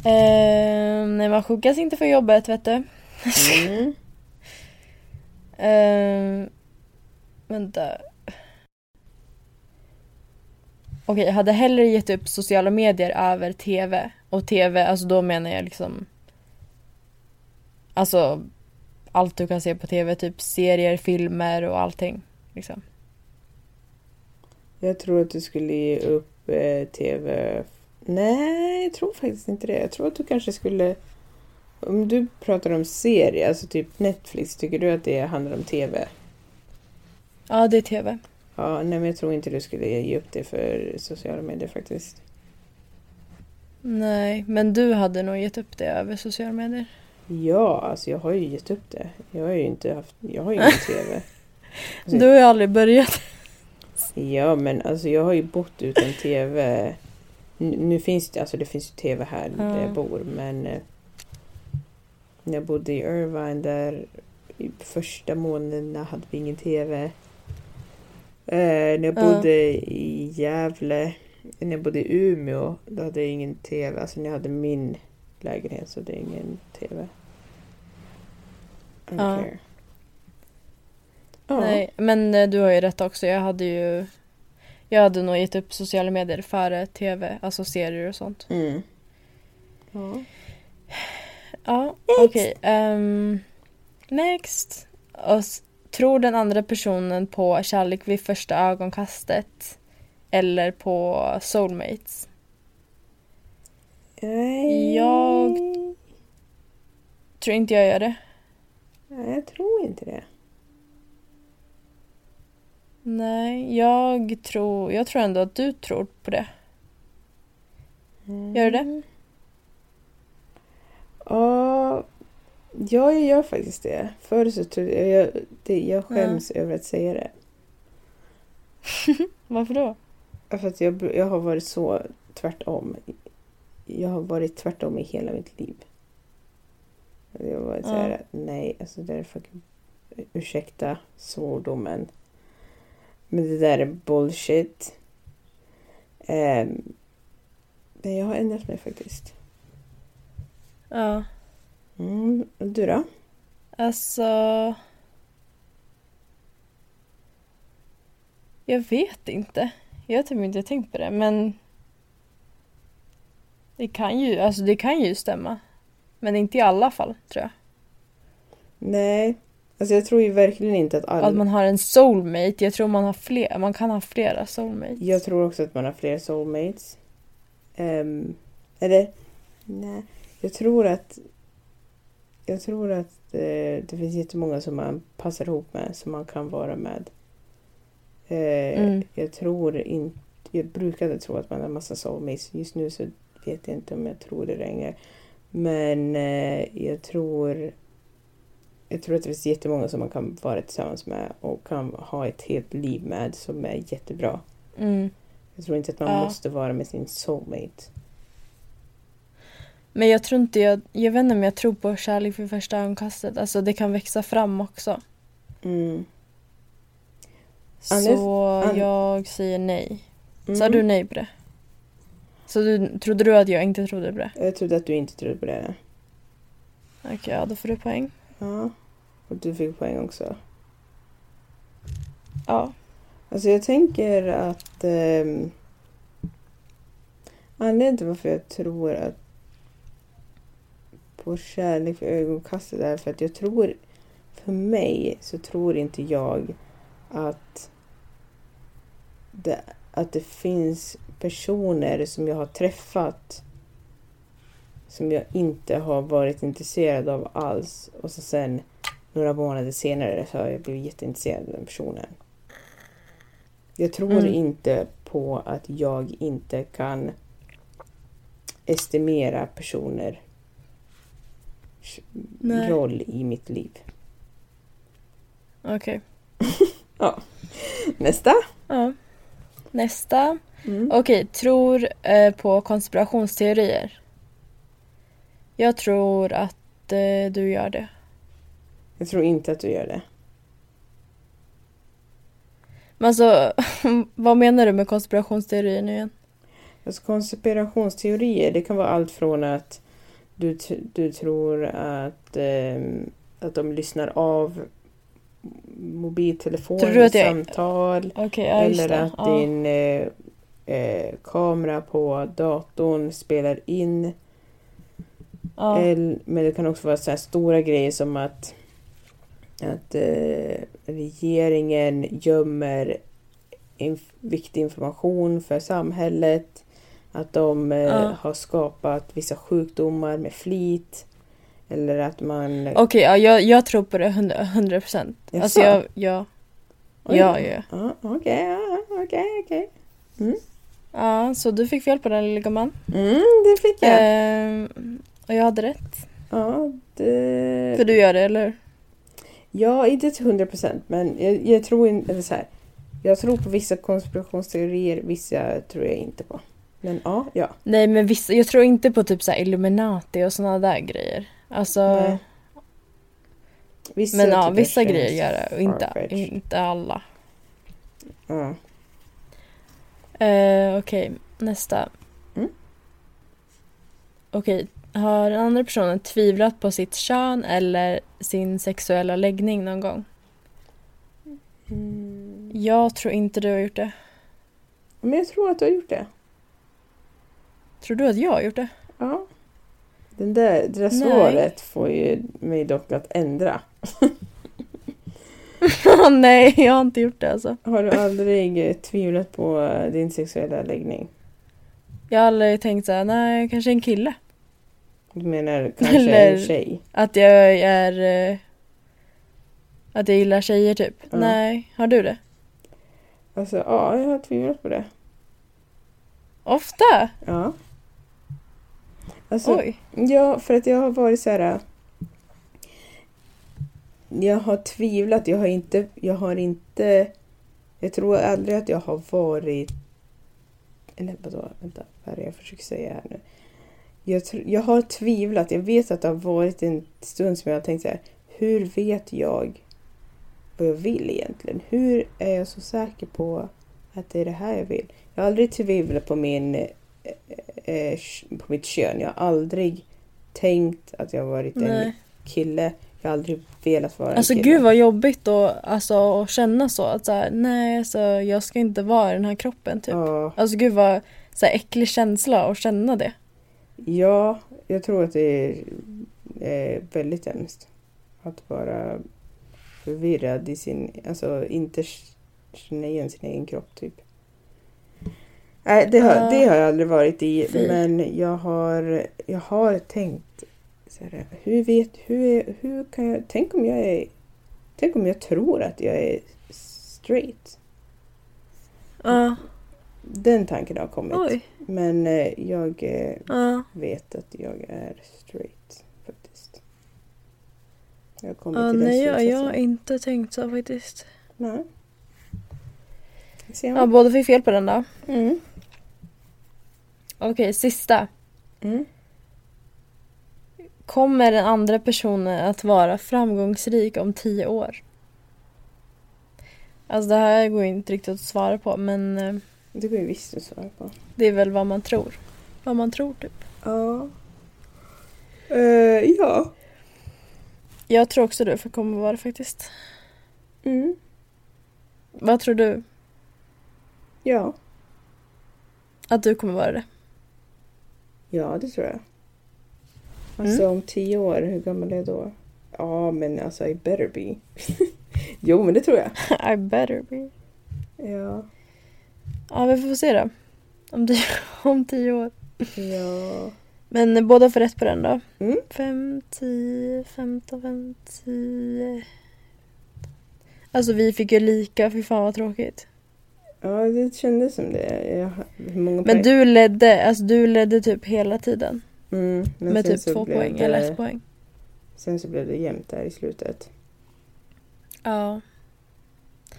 Ehm, nej man sjukas inte från jobbet vet du. Mm. Ehm, vänta. Okej, jag hade hellre gett upp sociala medier över TV. Och TV, alltså då menar jag liksom... Alltså allt du kan se på TV, typ serier, filmer och allting. Liksom. Jag tror att du skulle ge upp eh, tv... Nej, jag tror faktiskt inte det. Jag tror att du kanske skulle... Om du pratar om serier, alltså typ Netflix, tycker du att det handlar om tv? Ja, det är TV. Ja, nej men jag tror inte du skulle ge upp det för sociala medier faktiskt. Nej, men du hade nog gett upp det över sociala medier. Ja, alltså jag har ju gett upp det. Jag har ju inte haft... Jag har ju ingen tv. Alltså, Du har ju aldrig börjat. Ja, men alltså jag har ju bott utan tv. N- Nu finns det, alltså det finns ju tv här där Ja. jag bor, men eh, när jag bodde i Irvine där i första månaderna hade vi ingen tv. Eh, när jag Ja. bodde i Gävle, när jag bodde i Umeå, då hade jag ingen tv. Alltså när jag hade min lägenhet så hade jag ingen tv. I don't Ja. care. Ja. Nej, men eh, du har ju rätt också. Jag hade ju... Jag hade nog gett upp sociala medier före tv, alltså serier och sånt. Mm. Ja. Ja, okej. ehm, next. Och s- tror den andra personen på kärlek vid första ögonkastet? Eller på soulmates? Nej. Jag- Tror inte jag gör det. Nej, jag tror inte det. Nej, jag tror, jag tror ändå att du tror på det. Gör du det? Mm. Ja, ja, jag gör faktiskt det. Förr så trodde jag... Jag, det, jag skäms över att säga det. Varför då? För att jag, jag har varit så tvärtom. Jag har varit tvärtom i hela mitt liv. Jag har varit så här, Ja. nej, alltså det där är fucking... Ursäkta svordomen. Men det där är bullshit. Ehm, men jag har ändrat mig faktiskt. Ja. Mm, du då? Alltså... Jag vet inte. Jag har typ inte tänkt på det, men... Det kan ju, alltså det kan ju stämma. Men inte i alla fall, tror jag. Nej. Alltså jag tror ju verkligen inte att alla... Att man har en soulmate. Jag tror man har fler, man kan ha flera soulmates. Jag tror också att man har fler soulmates. Ehm, eller? Nej. Jag tror att... Jag tror att eh, det finns jättemånga som man passar ihop med, som man kan vara med. Eh, Mm. Jag tror inte... Jag brukade tro att man har massa soulmates. Just nu så vet jag inte om jag tror det längre. Men eh, jag tror... Jag tror att det finns jättemånga som man kan vara tillsammans med och kan ha ett helt liv med som är jättebra. Mm. Jag tror inte att man Ja. måste vara med sin soulmate. Men jag tror inte jag, jag vet inte om jag tror på kärlek vid första ögonkastet. Alltså det kan växa fram också. Mm. Anders- Så An- jag säger nej. Mm. Sa du nej på det? Så du, trodde du att jag inte trodde på det? Jag trodde att du inte trodde på det. Okej, ja då får du poäng. Ja. Och du fick poäng också. Ja. Alltså jag tänker att... ehm, anledningen till varför jag tror att på kärlek för ögonkastet är för att jag tror... För mig så tror inte jag att det, att det finns personer som jag har träffat som jag inte har varit intresserad av alls och så sen några månader senare så har jag blivit jätteintresserad av den personen. Jag tror Mm. inte på att jag inte kan estimera personer Nej. roll i mitt liv. Okej. Nästa! Ja. Nästa. Mm. Okej, tror eh, på konspirationsteorier. Jag tror att eh, du gör det. Jag tror inte att du gör det. Men alltså, vad menar du med konspirationsteorier nu igen? Alltså konspirationsteorier, det kan vara allt från att du, t- du tror att, ehm, att de lyssnar av Tror du att jag- mobiltelefonsamtal Okej, ja just eller det. att ja. din eh, eh, kamera på datorn spelar in. Ja. Eller, Eh, men det kan också vara så här stora grejer som att, att eh, regeringen gömmer inf- viktig information för samhället. Att de eh, Ja. har skapat vissa sjukdomar med flit. Eller att man... eh, Okej, ja, jag, jag tror på det 100 100 procent. Jaså? Alltså jag, jag, Oj. ja, ja. Ja, Okej, ja, okej, okej. Ja, så du fick fel på den lilla gumman. Mm, det fick jag. Ehm, och jag hade rätt. ja, För det... du gör det, eller hur? ja, inte till hundra procent men jag, jag tror inte... Eller så här. Jag tror på vissa konspirationsteorier, vissa tror jag inte på. Men ja, ja. Nej, men vissa, jag tror inte på typ så här Illuminati och såna där grejer. Alltså, Nej. Vissa men ja, tycker vissa jag grejer känns gör det och inte, mm. far-fetched. inte alla. Ja. Eh, Okej, nästa. Mm. Okej, har den andra personen tvivlat på sitt kön eller sin sexuella läggning någon gång? Mm. Jag tror inte du har gjort det. Men jag tror att du har gjort det. Tror du att jag har gjort det? Ja. Den där, det där Nej. svaret får ju mig dock att ändra. Nej, jag har inte gjort det alltså. Har du aldrig eh, tvivlat på eh, din sexuella läggning? Jag har aldrig tänkt såhär, nej, kanske en kille. Du menar kanske en Eller- tjej? Att jag är... eh, Att jag gillar tjejer typ. Ja. Nej, har du det? Alltså ja, jag har tvivlat på det. Ofta? Ja. Alltså, Oj. Ja, för att jag har varit så här. äh, Jag har tvivlat. Jag har inte... Jag har inte... Jag tror aldrig att jag har varit... Eller vadå? Vänta, vad är det jag försöker säga här nu? Jag, tr- jag har tvivlat. Jag vet att det har varit en stund som jag har tänkt så här. Hur vet jag vad jag vill egentligen? Hur är jag så säker på att det är det här jag vill? Jag har aldrig tvivlat på min eh, eh, på mitt kön. Jag har aldrig tänkt att jag har varit en Nej. kille. Jag har aldrig velat vara Alltså en kille. gud vad jobbigt då, alltså, att känna så. Att så här, nej, alltså, jag ska inte vara i den här kroppen typ. Ja, Alltså gud vad så här, äcklig känsla att känna det. Ja, jag tror att det är eh, väldigt hemskt. Att vara förvirrad i sin, alltså inte känna igen sin egen kropp typ. Nej, det har, Ja. det har jag aldrig varit i. Ah. Fy. Men jag har, jag har tänkt så här, hur vet, hur, är, hur kan jag, tänk om jag är, tänk om jag tror att jag är straight. Ja, Den tanken har kommit. oj. Men eh, jag eh, Ja, vet att jag är straight faktiskt. Jag kommer ja till den nej jag, jag slutsatsen. har inte tänkt så faktiskt. Nej. Ser Ja, man? båda fick fel på den då. Mm. Okej, sista. Mm. Kommer den andra personen att vara framgångsrik om tio år? Alltså det här går ju inte riktigt att svara på men eh, Det går ju visst att svara på. det är väl vad man tror. Vad man tror typ. Ja. Eh, ja. Jag tror också det för kommer vara det faktiskt. Mm. Vad tror du? Ja. Att du kommer vara det? Ja, det tror jag. Mm. Alltså om tio år, hur gammal är jag då? Ja, men alltså I better be. jo, men det tror jag. I better be. Ja. Ja, vi får se då. Om tio, om tio år. Ja. Men eh, båda får rätt på den då. Mm. 5, 10, 15, 5, 10. Alltså vi fick ju lika, fy fan vad tråkigt. Ja, det kändes som det. Jag, hur många Men poäng? du ledde, alltså du ledde typ hela tiden. Mm, men med sen typ så två blev poäng det- eller ett poäng. Sen så blev det jämnt där i slutet. Ja.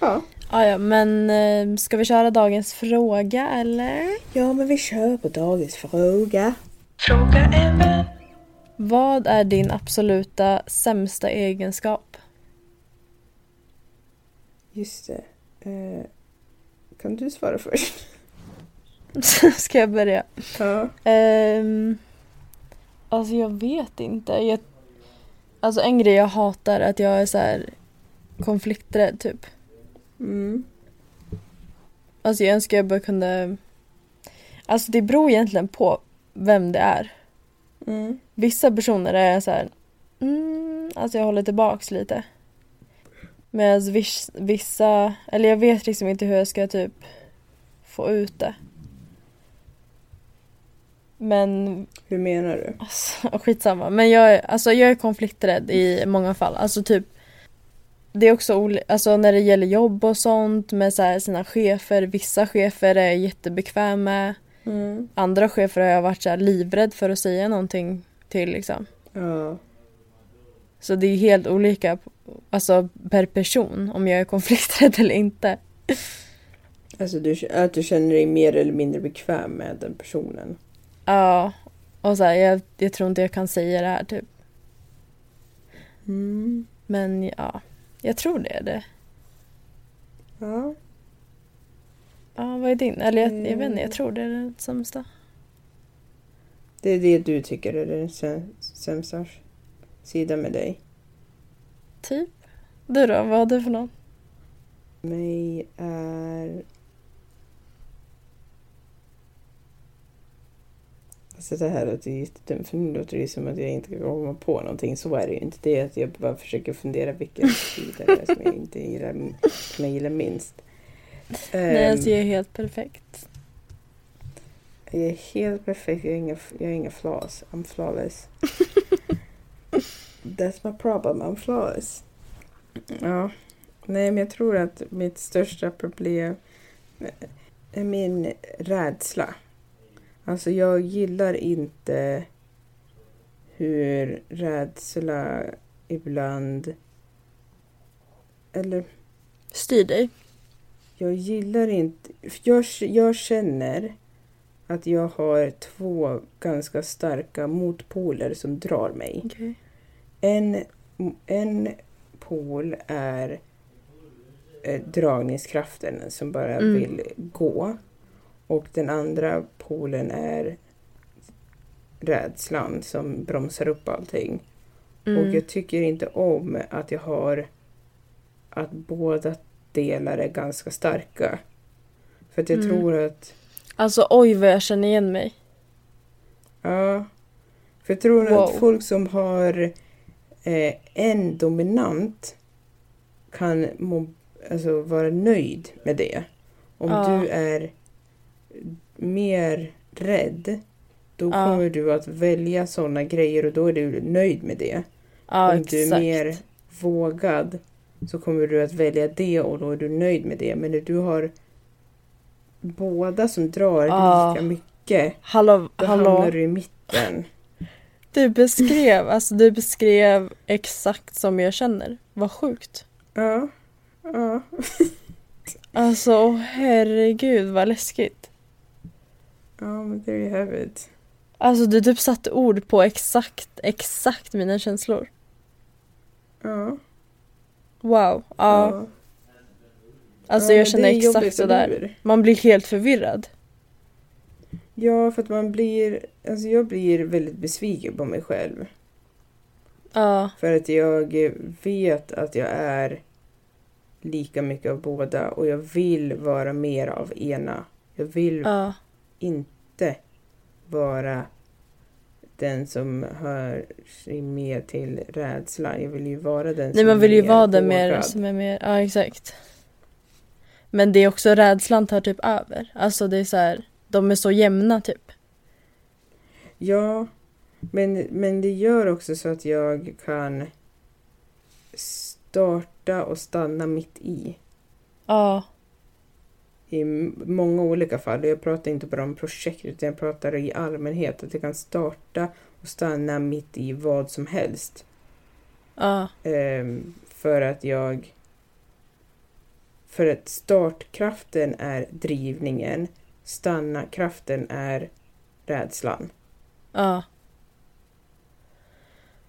Ja. Ja, ja, men eh, ska vi köra dagens fråga eller? Ja, men vi kör på dagens fråga. Vad är din absoluta sämsta egenskap? Just det. Eh, kan du svara först? ska jag börja? Ja. Um, alltså jag vet inte. Jag, alltså en grej jag hatar är att jag är så här konflikträdd typ. Mm. Alltså jag önskar jag bara kunde... Alltså det beror egentligen på vem det är. Mm. Vissa personer är jag så här... Mm, alltså jag håller tillbaks lite. Medan vis, vissa... Eller jag vet liksom inte hur jag ska typ få ut det. Men Hur menar du? Alltså, skitsamma. Men jag är, alltså, jag är konflikträdd i många fall. Alltså typ det är också oli- alltså, när det gäller jobb och sånt med så här, sina chefer. Vissa chefer är jag jättebekväm med. Mm. Andra chefer har jag varit så här, livrädd för att säga någonting till. Liksom. Ja. Så det är helt olika alltså, per person om jag är konflikträdd eller inte. Alltså du, att du känner dig mer eller mindre bekväm med den personen. Ja, och så här, jag, jag tror inte jag kan säga det här typ. Mm. Men ja, jag tror det är det. Ja. Ja, vad är din? Eller jag, jag vet inte, Mm. jag tror det är den sämsta. Det är det du tycker är den sä- sämsta sidan med dig. Typ. Du då, vad har du för någon? Mig är... Alltså det här låter ju jättedumt för nu låter det ju som att jag inte kan komma på någonting. Så är det ju inte. Det är att jag bara försöker fundera vilken sida det är som jag inte gillar, som jag gillar minst. Nej, Ehm, alltså jag är helt perfekt. jag är helt perfekt. Jag har inga, jag har inga flaws. I'm flawless. That's my problem. I'm flawless. Ja. Nej, men jag tror att mitt största problem är min rädsla. Alltså, jag gillar inte hur rädsla ibland... Eller Styr dig. jag gillar inte... för Jag, jag känner att jag har två ganska starka motpoler som drar mig. Okej. En, en pol är eh, dragningskraften som bara Mm. vill gå. Och den andra polen är rädslan som bromsar upp allting. Mm. Och jag tycker inte om att jag har att båda delar är ganska starka. För att jag Mm. tror att, Alltså oj vad jag känner igen mig. ja, För jag tror Wow. att folk som har eh, en dominant kan må, alltså, vara nöjd med det. Om Ja. du är mer rädd då Ja. kommer du att välja sådana grejer och då är du nöjd med det. Ja, Om du är exakt. mer vågad så kommer du att välja det och då är du nöjd med det. Men när du har båda som drar Ja. lika mycket Hallå, då hallå. hamnar du i mitten. Du beskrev, alltså du beskrev exakt som jag känner. Vad sjukt. Ja. ja. Alltså åh, herregud vad läskigt. Ja, men there you have it. Alltså du typ satte ord på exakt, exakt mina känslor. Ja. Wow. Ja, ja. alltså Ja, men jag känner det är jobbigt, exakt så där. eller hur? Man blir helt förvirrad. Ja, för att man blir... Alltså jag blir väldigt besviken på mig själv. Ja, För att jag vet att jag är lika mycket av båda och jag vill vara mer av ena. Jag vill ja, inte vara den som hör sig mer till rädsla. Jag vill ju vara den Nej som man vill ju är vara den mer vågad. som är mer, ja exakt. Men det är också rädslan tar typ över. Alltså det är så här, de är så jämna typ. Ja, men, men det gör också så att jag kan starta och stanna mitt i. Ja, I m- många olika fall. Och Jag pratar inte bara om projekt utan jag pratar i allmänhet. Att jag kan starta och stanna mitt i vad som helst. ja, Ehm, för att jag... För att startkraften är drivningen. Stanna-kraften är rädslan. ja.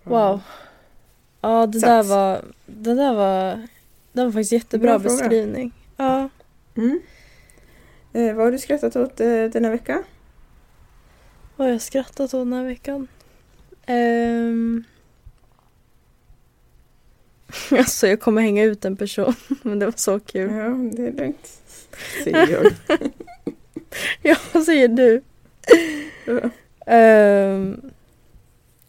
Ja. Wow. Ja, det Sats. där var, det där var, det var faktiskt jättebra Bra fråga. beskrivning. Ja. Mm. Eh, vad har du skrattat åt eh, denna vecka? Vad har jag skrattat åt den här veckan? Ehm. Alltså jag kommer hänga ut en person, men det var så kul. Ja, det är lugnt. Säger jag. Ja, vad säger du? Ja. Ehm,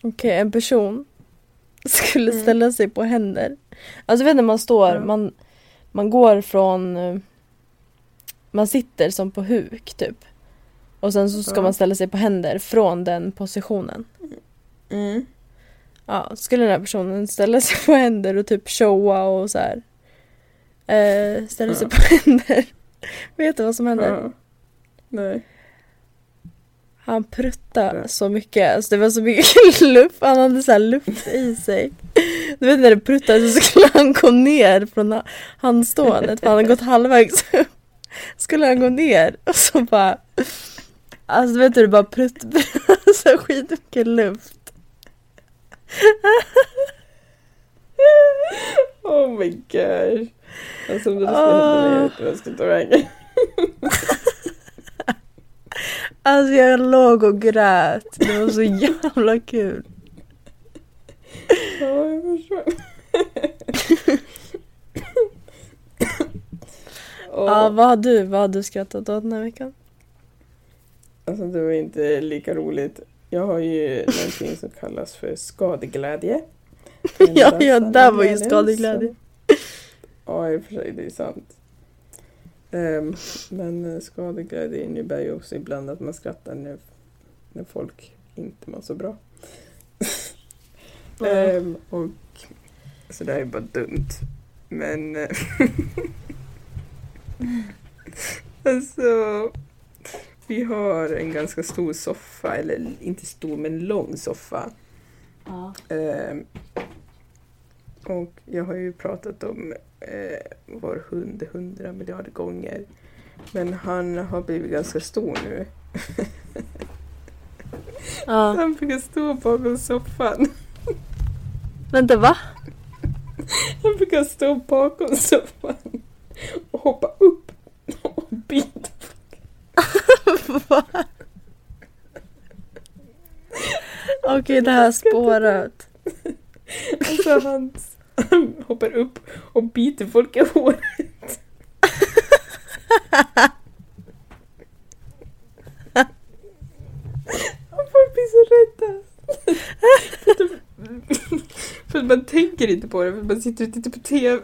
Okej, en person skulle Mm. ställa sig på händer. Alltså vet du, när man står, Ja. man, man går från, eh, man sitter som på huk typ. Och sen så ska Ja. man ställa sig på händer från den positionen. Mm. Ja, skulle den här personen ställa sig på händer och typ showa och så här. Eh, ställa sig Ja. på händer. Vet du vad som händer? Ja. Nej. Han pruttade Ja. så mycket, alltså det var så mycket luft, han hade så här luft i sig. Du vet när det pruttade så skulle han gå ner från ha- handstånet för han hade gått halvvägs upp. Skulle han gå ner och så bara Alltså du vet hur det bara prutt, så skitmycket luft. Oh my gosh. Alltså om det där skulle hända mig, jag vet inte vad jag skulle ta vägen. Alltså jag låg och grät, det var så jävla kul. Ja, jag förstår. Ja, Åh. vad har du, vad har du skrattat åt den här veckan? Alltså det var inte lika roligt. Jag har ju någonting som kallas för skadeglädje. Men Ja, den ja, sanna där var ju glädjen, så- skadeglädje. Ja, i och för sig, det är sant. Ehm, men eh, skadeglädje innebär ju också ibland att man skrattar när, när folk inte mår så bra. Ehm, och så det här är bara dumt. Men... eh, alltså... Vi har en ganska stor soffa, eller inte stor men lång soffa. Ehm, och jag har ju pratat om eh, vår hund hundra miljarder gånger. Men han har blivit ganska stor nu. Ja. Han brukar stå bakom soffan. Vänta, va? Han brukar stå bakom soffan och hoppa upp och bita. Okej, det här spåret. Alltså han, han hoppar upp och biter folk i håret. Och folk blir så rädda. man tänker inte på det, för man sitter och tittar på TV.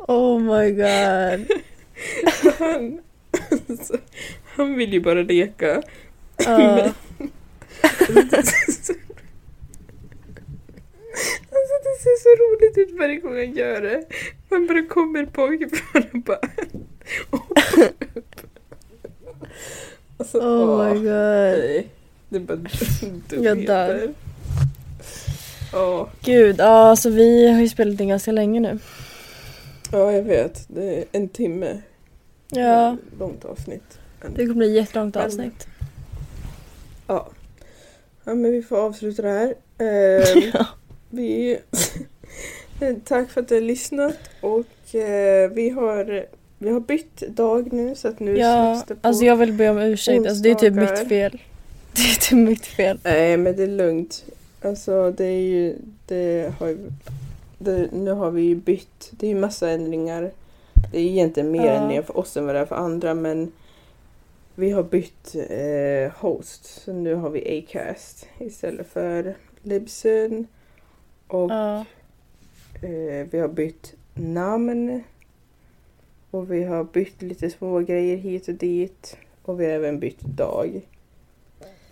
Oh my god. Han, alltså, han vill ju bara leka. Ja. Alltså det ser så roligt ut varje gång han gör det. Han bara kommer bakifrån och bara hoppar upp. Alltså, oh åh, my god. nej. Det är bara dumheter. Jag dör. Ja, Gud, ja alltså vi har ju spelat in ganska länge nu. ja, jag vet. Det är en timme. Ja, Långt avsnitt. det kommer bli ett jättelångt Men- avsnitt. Ja. ja, men vi får avsluta det här. Ehm, Ja. vi... Tack för att du har lyssnat och eh, vi har, vi har bytt dag nu så att nu Ja, släpps det på... alltså jag vill be om ursäkt. Alltså det är typ mitt onsdagar. fel. Det är typ mitt fel. Nej men det är lugnt. Alltså det är ju, det har ju, det, nu har vi ju bytt. Det är ju massa ändringar. Det är egentligen mer Ja. ändringar för oss än vad det är för andra men vi har bytt eh, host. Så nu har vi Acast istället för Libsyn. Och Ja. eh, vi har bytt namn. Och vi har bytt lite små grejer hit och dit. Och vi har även bytt dag.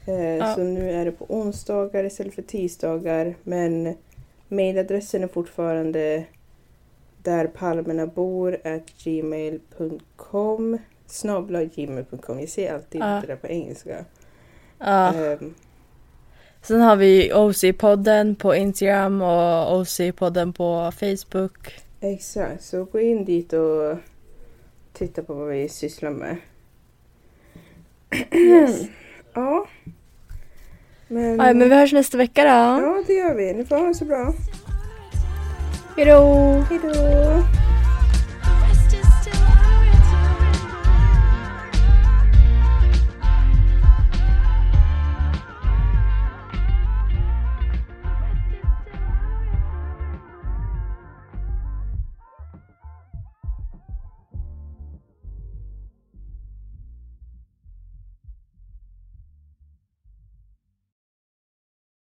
Eh, Ja. Så nu är det på onsdagar istället för tisdagar. Men mailadressen är fortfarande där palmerna bor at gmail.com snabla gmail.com. Jag säger alltid Ja. det där på engelska. ja. Ehm, Sen har vi OC-podden på Instagram och OC-podden på Facebook. exakt, så gå in dit och titta på vad vi sysslar med. Yes. Ja. Men, Ja, men vi hörs nästa vecka då. ja, det gör vi. Ni får ha det så bra. Hejdå! Hej då!